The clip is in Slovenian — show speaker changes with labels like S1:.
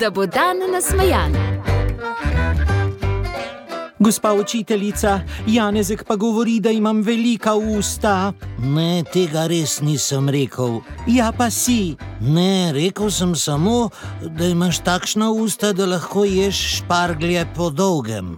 S1: Da bo dan nasmejan.
S2: Gospa učiteljica, Janezek pa govori, da imam velika usta.
S3: Ne, tega res nisem rekel.
S2: Ja, pa si.
S3: Ne, rekel sem samo, da imaš takšna usta, da lahko ješ šparglje po dolgem.